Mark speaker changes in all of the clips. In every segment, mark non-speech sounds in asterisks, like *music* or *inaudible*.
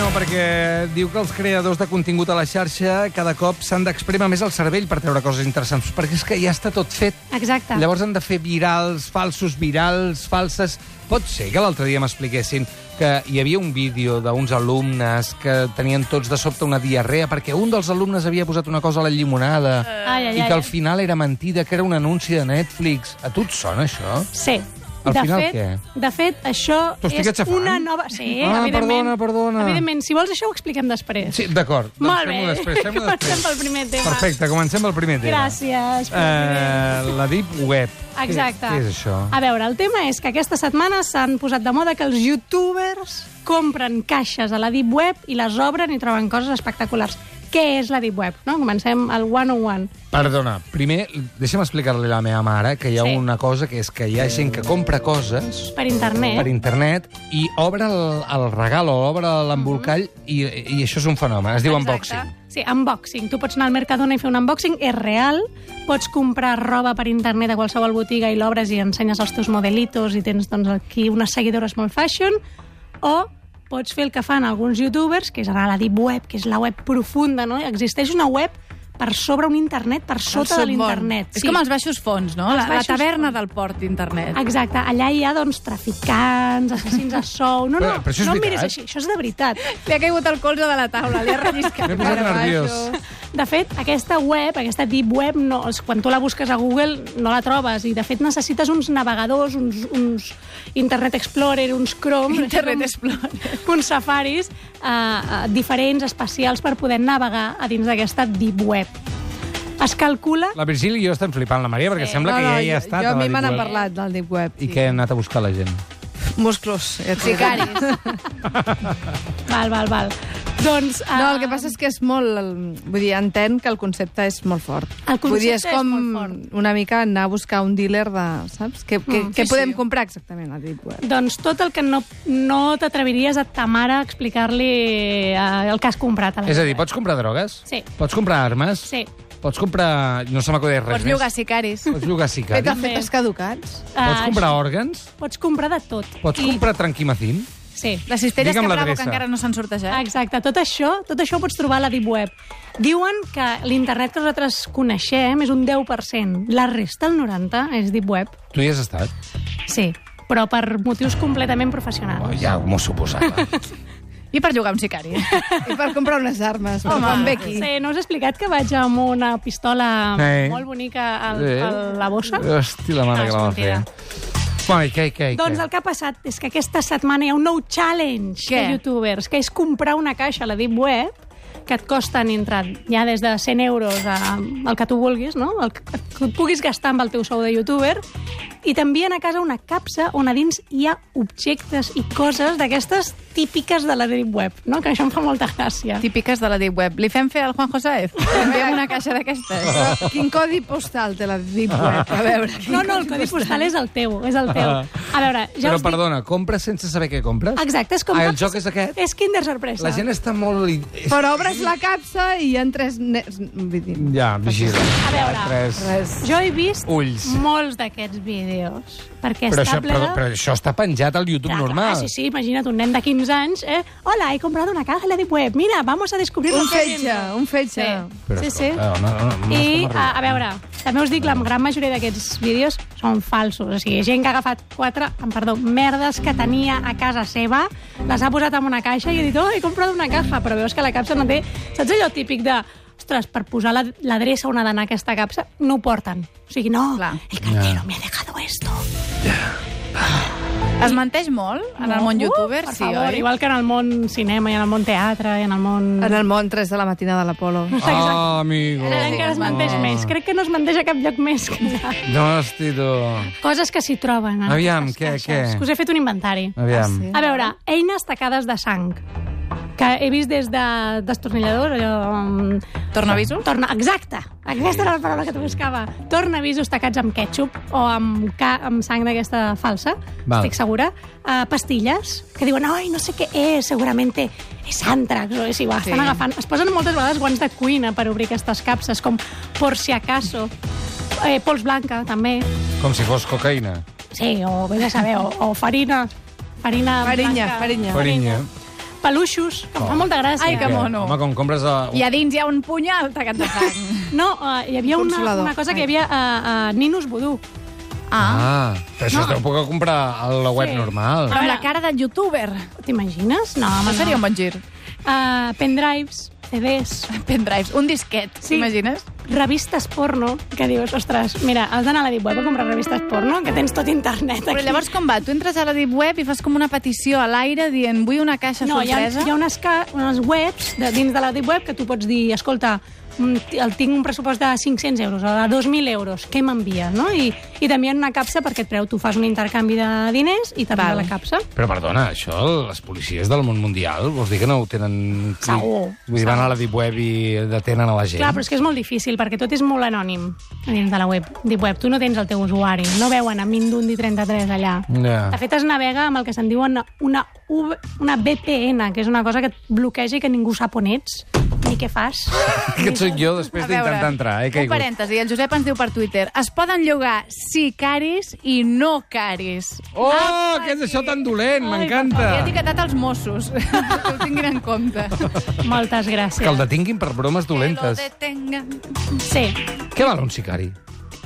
Speaker 1: no, perquè diu que els creadors de contingut a la xarxa cada cop s'han d'exprema més el cervell per treure coses interessants, perquè és que ja està tot fet.
Speaker 2: Exacte.
Speaker 1: Llavors han de fer virals, falsos virals, falses... Pot ser que l'altre dia m'expliquessin que hi havia un vídeo d'uns alumnes que tenien tots de sobte una diarrea perquè un dels alumnes havia posat una cosa a la llimonada
Speaker 2: Eh. Ai, ai,
Speaker 1: i
Speaker 2: ai,
Speaker 1: que al
Speaker 2: ai.
Speaker 1: final era mentida, que era un anunci de Netflix. A tu et sona això?
Speaker 2: Sí.
Speaker 1: Al
Speaker 2: de
Speaker 1: final,
Speaker 2: fet,
Speaker 1: què?
Speaker 2: De fet, això
Speaker 1: T'ho estic
Speaker 2: és
Speaker 1: aixafant?
Speaker 2: una nova... Sí,
Speaker 1: Ah,
Speaker 2: evidentment.
Speaker 1: perdona, perdona.
Speaker 2: Evidentment, si vols això ho expliquem després.
Speaker 1: Sí, d'acord. Doncs
Speaker 2: Molt
Speaker 1: fem-ho
Speaker 2: bé.
Speaker 1: Després, fem
Speaker 2: *laughs* Comencem
Speaker 1: després.
Speaker 2: pel primer tema.
Speaker 1: Perfecte, comencem pel primer tema.
Speaker 2: Gràcies. president.
Speaker 1: Eh, la Deep Web.
Speaker 2: Exacte. Ah.
Speaker 1: Què, què és això?
Speaker 2: A veure, el tema és que aquesta setmana s'han posat de moda que els youtubers compren caixes a la Deep Web i les obren i troben coses espectaculars. Què és la Deep Web? No? Comencem al 101.
Speaker 1: Perdona, primer, deixa'm explicar-li a la meva mare que hi ha
Speaker 2: Sí.
Speaker 1: una cosa que és que hi ha gent que compra coses
Speaker 2: Per internet.
Speaker 1: per internet i obre el, el regal o obre l'embolcall i, i això és un fenomen, es diu unboxing.
Speaker 2: Sí, unboxing. Tu pots anar al Mercadona i fer un unboxing, és real. Pots comprar roba per internet a qualsevol botiga i l'obres i ensenyes els teus modelitos i tens doncs, aquí unes seguidores molt fashion. O pots fer el que fan alguns youtubers, que és anar a la deep web, que és la web profunda, no? Existeix una web per sobre un internet, per sota de
Speaker 3: El submón.
Speaker 2: l'internet.
Speaker 3: És com els baixos fons, no?
Speaker 2: Els
Speaker 3: La, la
Speaker 2: baixos
Speaker 3: taverna
Speaker 2: fons.
Speaker 3: del port d'internet.
Speaker 2: Exacte, allà hi ha doncs, traficants, assassins a sou... No, no,
Speaker 1: Però- però això és
Speaker 2: no em
Speaker 1: veritat?
Speaker 2: miris així, això és de veritat.
Speaker 3: Li ha caigut el colze de la taula, li ha relliscat.
Speaker 1: M'he posat
Speaker 3: per baix.
Speaker 1: nerviós.
Speaker 2: De fet, aquesta web, aquesta deep web, no, és- quan tu la busques a Google no la trobes i, de fet, necessites uns navegadors, uns, uns Internet Explorer, uns Chrome...
Speaker 4: *laughs*
Speaker 3: Internet
Speaker 2: així com- *laughs* Uns safaris eh, eh, diferents, especials, per poder navegar a dins d'aquesta deep web. Es calcula...
Speaker 1: La Virgili i jo estem flipant la Maria perquè sembla que ja hi ha estat
Speaker 4: jo,
Speaker 1: a
Speaker 4: jo a
Speaker 1: la
Speaker 4: mi me
Speaker 1: Deep
Speaker 4: n'han
Speaker 1: Web.
Speaker 4: parlat del Deep Web.
Speaker 1: I què ha anat a buscar la gent?
Speaker 4: Musclos. Ja t'ho dic.
Speaker 2: *laughs* Val, val, val. Doncs... eh,
Speaker 4: No, el que passa és que és molt... el- Vull dir, entenc que el concepte és molt fort.
Speaker 2: El concepte
Speaker 4: vull dir, és
Speaker 2: és
Speaker 4: com
Speaker 2: molt fort.
Speaker 4: una mica anar a buscar un dealer de... Saps? Què, què,
Speaker 2: Mm,
Speaker 4: què
Speaker 2: sí,
Speaker 4: podem
Speaker 2: sí.
Speaker 4: comprar exactament al Deep Web?
Speaker 2: Doncs tot el que no, no t'atreviries a ta mare a explicar-li eh, el que has comprat. A la
Speaker 1: És a dir,
Speaker 2: web.
Speaker 1: pots comprar drogues?
Speaker 2: Sí.
Speaker 1: Pots comprar armes?
Speaker 2: Sí.
Speaker 1: Pots comprar... No se m'acudeix res
Speaker 3: Pots
Speaker 1: més.
Speaker 3: llogar sicaris.
Speaker 1: Pots llogar
Speaker 4: Fet
Speaker 1: sicaris?
Speaker 4: a fetes caducats?
Speaker 1: Pots
Speaker 2: Eh,
Speaker 1: comprar òrgans?
Speaker 2: Pots comprar de tot.
Speaker 1: Pots
Speaker 2: I-
Speaker 1: comprar tranquimacin?
Speaker 2: Sí.
Speaker 3: Les cistelles
Speaker 1: Digue'm
Speaker 3: que bravo,
Speaker 1: l'adreça.
Speaker 3: que encara no s'han sortejat.
Speaker 2: Exacte, tot això, tot això ho pots trobar a la Deep Web. Diuen que l'internet que nosaltres coneixem és un 10%. La resta, el 90%, és Deep Web.
Speaker 1: Tu hi has estat?
Speaker 2: Sí, però per motius completament professionals.
Speaker 1: Oh, ja m'ho *laughs* suposava.
Speaker 3: I per llogar un sicari.
Speaker 4: I per comprar unes armes. Home, quan ve aquí.
Speaker 2: Sí, no us he explicat que vaig amb una pistola
Speaker 1: Sí.
Speaker 2: molt bonica al,
Speaker 1: Sí. Eh,
Speaker 2: a la bossa?
Speaker 1: Hosti, la mare
Speaker 2: No,
Speaker 1: que
Speaker 2: és
Speaker 1: la va fer.
Speaker 2: mentida.
Speaker 1: Bueno, i què, i què, i
Speaker 2: Doncs
Speaker 1: què?
Speaker 2: el que ha passat és que aquesta setmana hi ha un nou challenge
Speaker 3: Què?
Speaker 2: de youtubers, que és comprar una caixa a la Deep Web, que et costen entre, ja des de 100 euros a, el que tu vulguis, no? el que que et puguis gastar amb el teu sou de youtuber, i t'envien a casa una capsa on a dins hi ha objectes i coses d'aquestes típiques de la Deep Web, no? que això em fa molta gràcia.
Speaker 3: Típiques de la Deep Web. Li fem fer al Juanjo Saez? També una caixa d'aquestes.
Speaker 4: Però Quin codi postal té la Deep Web? A veure.
Speaker 2: No, no, el codi postal és el teu, és el teu. A veure,
Speaker 1: Ah.
Speaker 2: ja
Speaker 1: Però
Speaker 2: us dic...
Speaker 1: perdona, compres sense saber què compres?
Speaker 2: Exacte, és com...
Speaker 1: Ah, el joc és aquest?
Speaker 2: És Kinder Sorpresa.
Speaker 1: La gent està molt... i-
Speaker 4: Però obres la capsa i hi ha tres... Ne... Vull dir,
Speaker 1: Ja, vigila.
Speaker 2: A veure.
Speaker 1: Tres.
Speaker 4: res.
Speaker 2: Jo he vist
Speaker 1: Ulls.
Speaker 2: molts d'aquests vídeos, perquè
Speaker 1: Però
Speaker 2: està
Speaker 1: això,
Speaker 2: ple
Speaker 1: però,
Speaker 2: de...
Speaker 1: però això està penjat al YouTube
Speaker 2: Clar, clar,
Speaker 1: normal.
Speaker 2: sí, sí, imagina't un nen de 15 anys, eh? Hola, he comprado una caja en la Deep Web. Mira, vamos a descubrir
Speaker 4: Un
Speaker 2: lo que hay
Speaker 4: fetge,
Speaker 2: dentro."
Speaker 4: un fetge.
Speaker 2: Sí,
Speaker 1: Però
Speaker 2: sí, sí.
Speaker 1: escolta, no, no, no, no
Speaker 2: I,
Speaker 1: estem
Speaker 2: a,
Speaker 1: arribant. Ah,
Speaker 2: a veure, també us dic, la gran majoria d'aquests vídeos són falsos. O sigui, gent que ha agafat quatre, em perdó, merdes que tenia a casa seva, les ha posat en una caixa i ha dit, oh, he comprat una caja, però veus que la capsa no té... Saps allò típic de... Ostres, per posar la- l'adreça on ha d'anar aquesta capsa, no ho porten. O sigui, no,
Speaker 3: Clar.
Speaker 2: el cartero me ha dejado esto.
Speaker 3: Es menteix molt en el món
Speaker 2: Uh,
Speaker 3: youtuber,
Speaker 2: per
Speaker 3: sí,
Speaker 2: favor,
Speaker 3: oi?
Speaker 2: Igual que en el món cinema, i en el món teatre, i en el món...
Speaker 4: En el món 3 de la matina de l'Apolo.
Speaker 1: Ah, amigo.
Speaker 2: Ara encara es menteix més. Crec que no es menteix a cap lloc més que allà.
Speaker 1: No, hosti, tu.
Speaker 2: Coses que s'hi troben. eh, en
Speaker 1: Aviam,
Speaker 2: aquestes
Speaker 1: què,
Speaker 2: caixes.
Speaker 1: què?
Speaker 2: Que us he fet un inventari.
Speaker 1: Aviam.
Speaker 4: sí.
Speaker 2: A veure, eines tacades de sang que he vist des de destornilladors, allò... mm,
Speaker 3: Tornavisos?
Speaker 2: Torna, exacte, aquesta era la paraula que tu buscava. Tornavisos tacats amb ketchup o amb, ca, amb sang d'aquesta falsa,
Speaker 1: Val.
Speaker 2: estic segura. Uh, pastilles, que diuen, ai, no sé què és, segurament és àntrax, o és igual, estan
Speaker 4: Sí.
Speaker 2: agafant... Es posen moltes vegades guants de cuina per obrir aquestes capses, com por si acaso, eh, pols blanca, també.
Speaker 1: Com si fos cocaïna.
Speaker 2: Sí, o vés a saber, o, o farina. Farina
Speaker 4: Farinya,
Speaker 2: blanca.
Speaker 4: farinya.
Speaker 1: Farinya.
Speaker 2: peluixos, que em fa molta gràcia.
Speaker 3: Ai, que mono.
Speaker 1: Home, com compres... A...
Speaker 3: I a dins hi ha un punyal tacat de sang.
Speaker 2: No, eh, hi havia una,
Speaker 4: Consolador.
Speaker 2: una cosa que hi havia eh, a, a Ninos Vudú.
Speaker 3: Ah.
Speaker 1: Ah, però això no. es deu poder comprar a la web
Speaker 2: Sí. Ah.
Speaker 1: normal.
Speaker 3: Amb la cara del youtuber.
Speaker 2: T'imagines? No, home,
Speaker 3: Això seria un bon gir.
Speaker 2: Uh, pendrives, CDs,
Speaker 3: Pendrives, un disquet,
Speaker 2: Sí.
Speaker 3: t'imagines?
Speaker 2: revistes porno, que dius, ostres, mira, has d'anar a la Deep Web a comprar revistes porno, que tens tot internet
Speaker 3: Però
Speaker 2: aquí.
Speaker 3: llavors com va? Tu entres a la Deep Web i fas com una petició a l'aire dient vull una caixa
Speaker 2: No, hi ha,
Speaker 3: sorpresa.
Speaker 2: hi ha unes, ca, unes webs de, dins de la Deep Web que tu pots dir, escolta, mm, t- el tinc un pressupost de 500 euros o de 2.000 euros, què m'envies? No? I, I t'envien una capsa per aquest preu. Tu fas un intercanvi de diners i t'envia
Speaker 3: Val.
Speaker 2: la capsa.
Speaker 1: Però perdona, això les policies del món mundial, vols dir que no ho tenen...
Speaker 2: Segur.
Speaker 1: Vull dir, van a la Deep Web i detenen a la gent.
Speaker 2: Clar, però és que és molt difícil, perquè tot és molt anònim a dins de la web. Deep web, tu no tens el teu usuari, no veuen a Mindundi33 allà.
Speaker 1: Ja.
Speaker 2: De fet, es navega amb el que se'n diu una, una, UV una VPN, que és una cosa que et bloqueja i que ningú sap on ets, ni què
Speaker 3: *laughs*
Speaker 2: fas.
Speaker 1: Aquest sóc jo després
Speaker 3: A veure,
Speaker 1: d'intentar entrar, eh, he
Speaker 3: Un
Speaker 1: caigut.
Speaker 3: parèntesi, el Josep ens diu per Twitter es poden llogar sí caris i no caris.
Speaker 1: Oh,
Speaker 2: Ah,
Speaker 1: què és això tan dolent, m'encanta.
Speaker 3: He etiquetat els Mossos, *laughs* que ho tinguin en compte.
Speaker 2: Moltes gràcies.
Speaker 1: Que el detinguin per bromes *laughs* dolentes.
Speaker 3: Que lo detengan.
Speaker 2: Sí,
Speaker 1: Què val un sicari?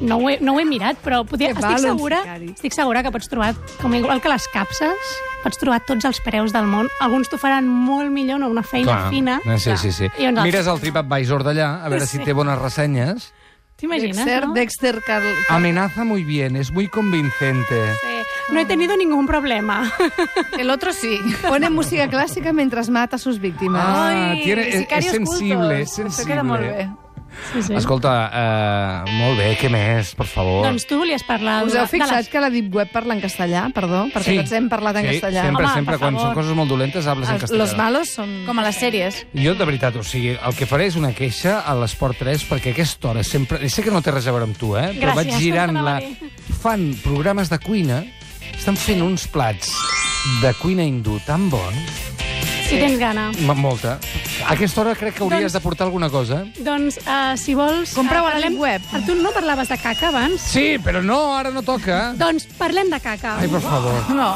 Speaker 2: no ho he, no ho he mirat, però podia,
Speaker 4: Que
Speaker 2: estic,
Speaker 4: val un
Speaker 2: segura,
Speaker 4: sicari.
Speaker 2: estic segura que pots trobar, com igual que les capses, pots trobar tots els preus del món. Alguns t'ho faran molt millor, no una feina fina.
Speaker 1: eh, Sí, sí, sí.
Speaker 2: I uns altres.
Speaker 1: Mires el TripAdvisor d'allà, a veure si té bones ressenyes.
Speaker 2: T'imagines,
Speaker 4: Dexter,
Speaker 2: no?
Speaker 4: Dexter Carl...
Speaker 1: Amenaza muy bien, es muy convincente.
Speaker 2: Eh, no he tenido ningún problema. *laughs*
Speaker 1: Ah.
Speaker 3: El otro sí.
Speaker 4: *laughs* Pone música clàssica mentre mata sus víctimes.
Speaker 1: Ah,
Speaker 3: Ai,
Speaker 1: tiene- és-
Speaker 3: sicarios
Speaker 1: és sensible,
Speaker 3: cultos.
Speaker 1: és sensible. eh.
Speaker 3: Això queda molt bé.
Speaker 2: Sí, sí.
Speaker 1: Escolta, eh, molt bé, què més, per favor?
Speaker 2: Doncs tu volies parlar...
Speaker 4: Us
Speaker 2: de-
Speaker 4: heu
Speaker 2: de
Speaker 4: fixat
Speaker 2: les-
Speaker 4: que la Deep Web parla en castellà, perdó? Perquè
Speaker 1: Sí.
Speaker 4: tots hem parlat en
Speaker 1: sí,
Speaker 4: castellà.
Speaker 1: Sempre,
Speaker 2: Home,
Speaker 1: sempre,
Speaker 2: per
Speaker 1: quan
Speaker 2: favor.
Speaker 1: són coses molt dolentes, hables en
Speaker 4: Els-
Speaker 1: castellà.
Speaker 4: Los malos son...
Speaker 3: Com a les sèries.
Speaker 1: Jo, de veritat, o sigui, el que faré és una queixa a l'Esport 3 perquè aquesta hora sempre... eh, Sé que no té res a veure amb tu, eh? Però vaig
Speaker 2: Gràcies,
Speaker 1: girant la...
Speaker 2: anava a dir.
Speaker 1: Fan programes de cuina, estan fent uns plats de cuina hindú tan bon,
Speaker 2: Si tens gana.
Speaker 1: m- molta. A aquesta hora crec que hauries
Speaker 2: Doncs-
Speaker 1: de portar alguna cosa.
Speaker 2: Doncs, uh, si vols...
Speaker 3: Compreu
Speaker 2: eh,
Speaker 3: a la
Speaker 2: parlem-
Speaker 3: web.
Speaker 2: Ah, Tu no parlaves de caca abans?
Speaker 1: Sí, però no, ara no toca.
Speaker 2: Doncs parlem de caca.
Speaker 1: Ai, per favor.
Speaker 3: No.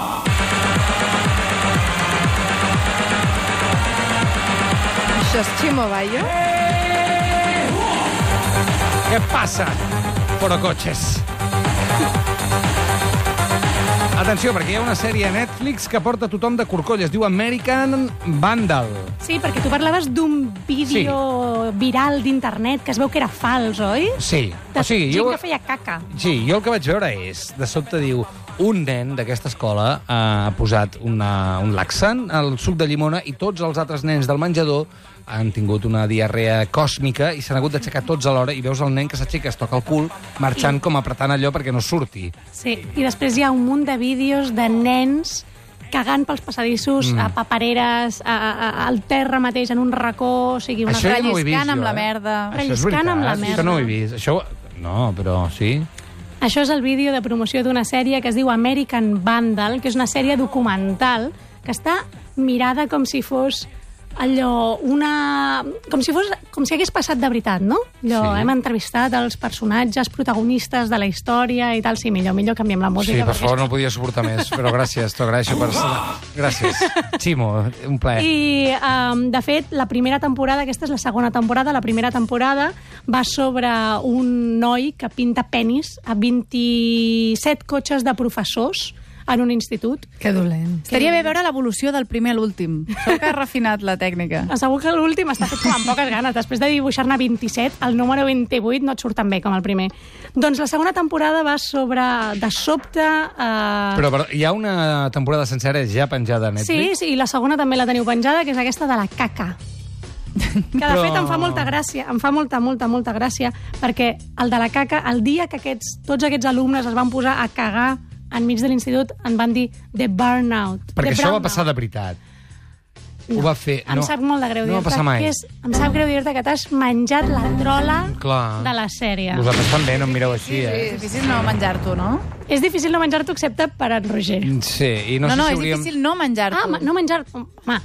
Speaker 4: Això és Chimo Bayo.
Speaker 1: ¿Qué pasa, porocoches? Atenció, perquè hi ha una sèrie a Netflix que porta tothom de corcoll. Es diu American Vandal.
Speaker 2: Sí, perquè tu parlaves d'un vídeo viral d'internet que es veu que era fals, oi?
Speaker 1: Sí. o
Speaker 2: De
Speaker 1: sigui,
Speaker 2: gent
Speaker 1: jo...
Speaker 2: que feia caca.
Speaker 1: Sí, jo el que vaig veure és, de sobte diu, un nen d'aquesta escola eh, ha posat una, un laxant al suc de llimona i tots els altres nens del menjador han tingut una diarrea còsmica i s'han hagut d'aixecar tots a l'hora i veus el nen que s'aixeca, es toca el cul, marxant com apretant allò perquè no surti.
Speaker 2: Sí, i després hi ha un munt de vídeos de nens cagant pels passadissos, mm. a papereres, a, a, a, al terra mateix, en un racó, o sigui, una
Speaker 1: Això jo no ho he vist,
Speaker 3: Relliscant
Speaker 1: jo,
Speaker 3: amb la
Speaker 1: eh?
Speaker 3: merda.
Speaker 1: Això és
Speaker 2: Relliscant amb la
Speaker 1: veritat,
Speaker 2: merda.
Speaker 1: Això no ho he vist. Això... No, però sí.
Speaker 2: Això és el vídeo de promoció d'una sèrie que es diu American Vandal, que és una sèrie documental que està mirada com si fos allò, una... Com si, fos, com si hagués passat de veritat, no? Allò,
Speaker 1: Sí.
Speaker 2: sí. hem entrevistat els personatges protagonistes de la història i tal, sí, millor, millor canviem la música.
Speaker 1: sí, per
Speaker 2: perquè
Speaker 1: favor, no ho podia suportar més, però gràcies, t'ho agraeixo per... Gràcies. Ximo, un plaer.
Speaker 2: I, um, de fet, la primera temporada, aquesta és la segona temporada, la primera temporada va sobre un noi que pinta penis a 27 cotxes de professors en un institut.
Speaker 4: Que dolent.
Speaker 3: Estaria bé veure l'evolució del primer a l'últim. Segur que has refinat la tècnica.
Speaker 2: Segur que l'últim està fet com amb poques ganes. Després de dibuixar-ne 27, el número 28 no et surt tan bé com el primer. Doncs la segona temporada va sobre, de sobte... Eh...
Speaker 1: Però, però hi ha una temporada sencera ja penjada a
Speaker 2: Sí,
Speaker 1: Netflix?
Speaker 2: sí, i la segona també la teniu penjada, que és aquesta de la caca. Que, de
Speaker 1: Però-
Speaker 2: fet, em fa molta gràcia, em fa molta, molta, molta gràcia, perquè el de la caca, el dia que aquests, tots aquests alumnes es van posar a cagar enmig de l'institut, en van dir the burnout.
Speaker 1: Perquè
Speaker 2: the
Speaker 1: això va
Speaker 2: brownout".
Speaker 1: passar de veritat. Ho va fer...
Speaker 2: Em
Speaker 1: no,
Speaker 2: sap molt de greu
Speaker 1: No va passar mai.
Speaker 2: que és, em sap greu dir-te que t'has menjat la trola
Speaker 1: Clar.
Speaker 2: de la sèrie.
Speaker 1: Vosaltres també no em mireu així,
Speaker 3: És
Speaker 1: eh?
Speaker 3: difícil no menjar-t'ho, no?
Speaker 2: És difícil no menjar-t'ho excepte per en Roger.
Speaker 1: Sí, i no,
Speaker 3: no,
Speaker 1: sé si
Speaker 3: és
Speaker 1: hauríem...
Speaker 3: difícil no menjar-t'ho.
Speaker 2: Ah, oh, ma- no menjar... Home,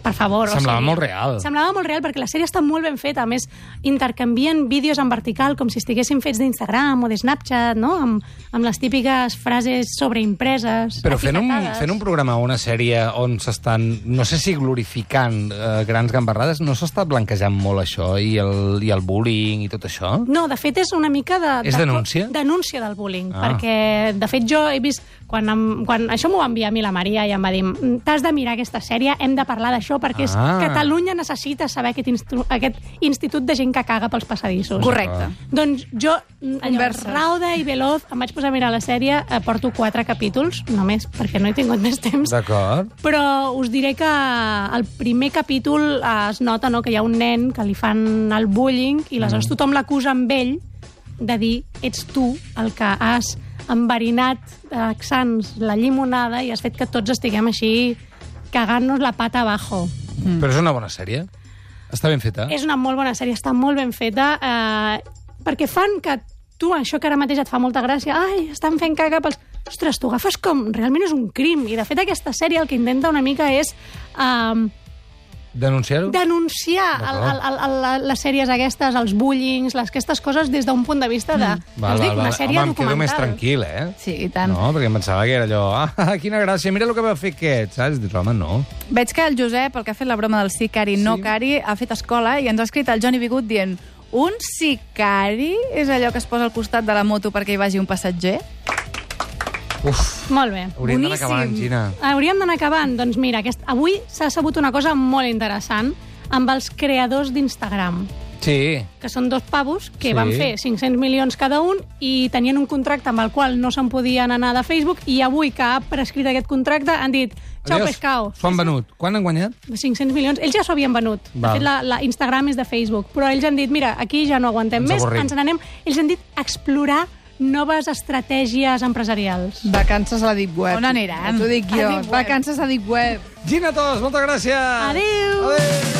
Speaker 2: Per favor.
Speaker 1: Semblava molt real.
Speaker 2: Semblava molt real perquè la sèrie està molt ben feta. A més, intercanvien vídeos en vertical com si estiguessin fets d'Instagram o de Snapchat, no? Amb, amb les típiques frases sobreimpreses.
Speaker 1: Però fent un,
Speaker 2: etiquetades.
Speaker 1: fent un programa o una sèrie on s'estan, no sé si glorificant eh, grans gambarrades, no s'està blanquejant molt això i el, i el bullying i tot això?
Speaker 2: No, de fet és una mica de...
Speaker 1: És
Speaker 2: de-
Speaker 1: denúncia?
Speaker 2: Denúncia del bullying,
Speaker 1: Ah.
Speaker 2: ah. perquè de fet jo he vist... Quan, em, quan això m'ho va enviar a mi la Maria i em va dir "Mm, t'has de mirar aquesta sèrie, hem de parlar d'això perquè és,
Speaker 1: Ah.
Speaker 2: Catalunya necessita saber aquest, instru, aquest institut de gent que caga pels passadissos.
Speaker 4: Correcte.
Speaker 2: Doncs jo, mm, allò,
Speaker 4: Converses.
Speaker 2: rauda i veloz, em vaig posar a mirar la sèrie, eh, porto quatre capítols, només, perquè no he tingut més temps.
Speaker 1: D'acord.
Speaker 2: Però us diré que al primer capítol eh, es nota no, que hi ha un nen que li fan el bullying i aleshores tothom l'acusa amb ell de dir ets tu el que has enverinat accents la llimonada i has fet que tots estiguem així cagant-nos la pata abajo.
Speaker 1: Mm. Però és una bona sèrie. Està ben feta.
Speaker 2: És una molt bona sèrie, està molt ben feta, eh, perquè fan que tu, això que ara mateix et fa molta gràcia, ai, estan fent caga pels... Ostres, tu agafes com... Realment és un crim. I, de fet, aquesta sèrie el que intenta una mica és eh,
Speaker 1: Denunciar-ho?
Speaker 2: denunciar el,
Speaker 1: D'acord.
Speaker 2: el, el, el, les sèries aquestes, els bullings, les, aquestes coses des d'un punt de vista de... Mm. us dic, una sèrie
Speaker 1: Home, em quedo
Speaker 2: documental.
Speaker 1: més tranquil, eh?
Speaker 4: Sí, i tant.
Speaker 1: No, perquè em pensava que era allò... Ah, *laughs* quina gràcia, mira el que va fer aquest, saps? Dius, home, no.
Speaker 4: Veig que el Josep, el que ha fet la broma del sicari, sí. no cari, ha fet escola i ens ha escrit el Johnny Bigut dient un sicari és allò que es posa al costat de la moto perquè hi vagi un passatger?
Speaker 1: Uf,
Speaker 2: Molt bé.
Speaker 1: hauríem d'anar
Speaker 4: Boníssim.
Speaker 1: acabant, Gina.
Speaker 2: Hauríem d'anar acabant. Doncs mira, aquest, avui s'ha sabut una cosa molt interessant amb els creadors d'Instagram.
Speaker 1: Sí,
Speaker 2: que són dos pavos
Speaker 1: Sí.
Speaker 2: que sí. van fer 500 milions cada un i tenien un contracte amb el qual no se'n podien anar de Facebook i avui que ha prescrit aquest contracte han dit Ciao,
Speaker 1: Adiós.
Speaker 2: pescao.
Speaker 1: S'ho han venut. Quan han guanyat?
Speaker 2: 500 milions. Ells ja s'ho havien venut. De
Speaker 1: Val.
Speaker 2: fet, la, la Instagram és de Facebook. Però ells han dit, mira, aquí ja no aguantem
Speaker 1: Ens
Speaker 2: més,
Speaker 1: avorrim.
Speaker 2: ens n'anem... Ells han dit explorar noves estratègies empresarials.
Speaker 5: Vacances a la Deep Web.
Speaker 4: On aniran?
Speaker 5: Ja T'ho dic jo.
Speaker 4: A Deep Web.
Speaker 5: Vacances a Deep Web.
Speaker 1: Gina Tos, moltes gràcies.
Speaker 2: Adéu.
Speaker 1: Adéu.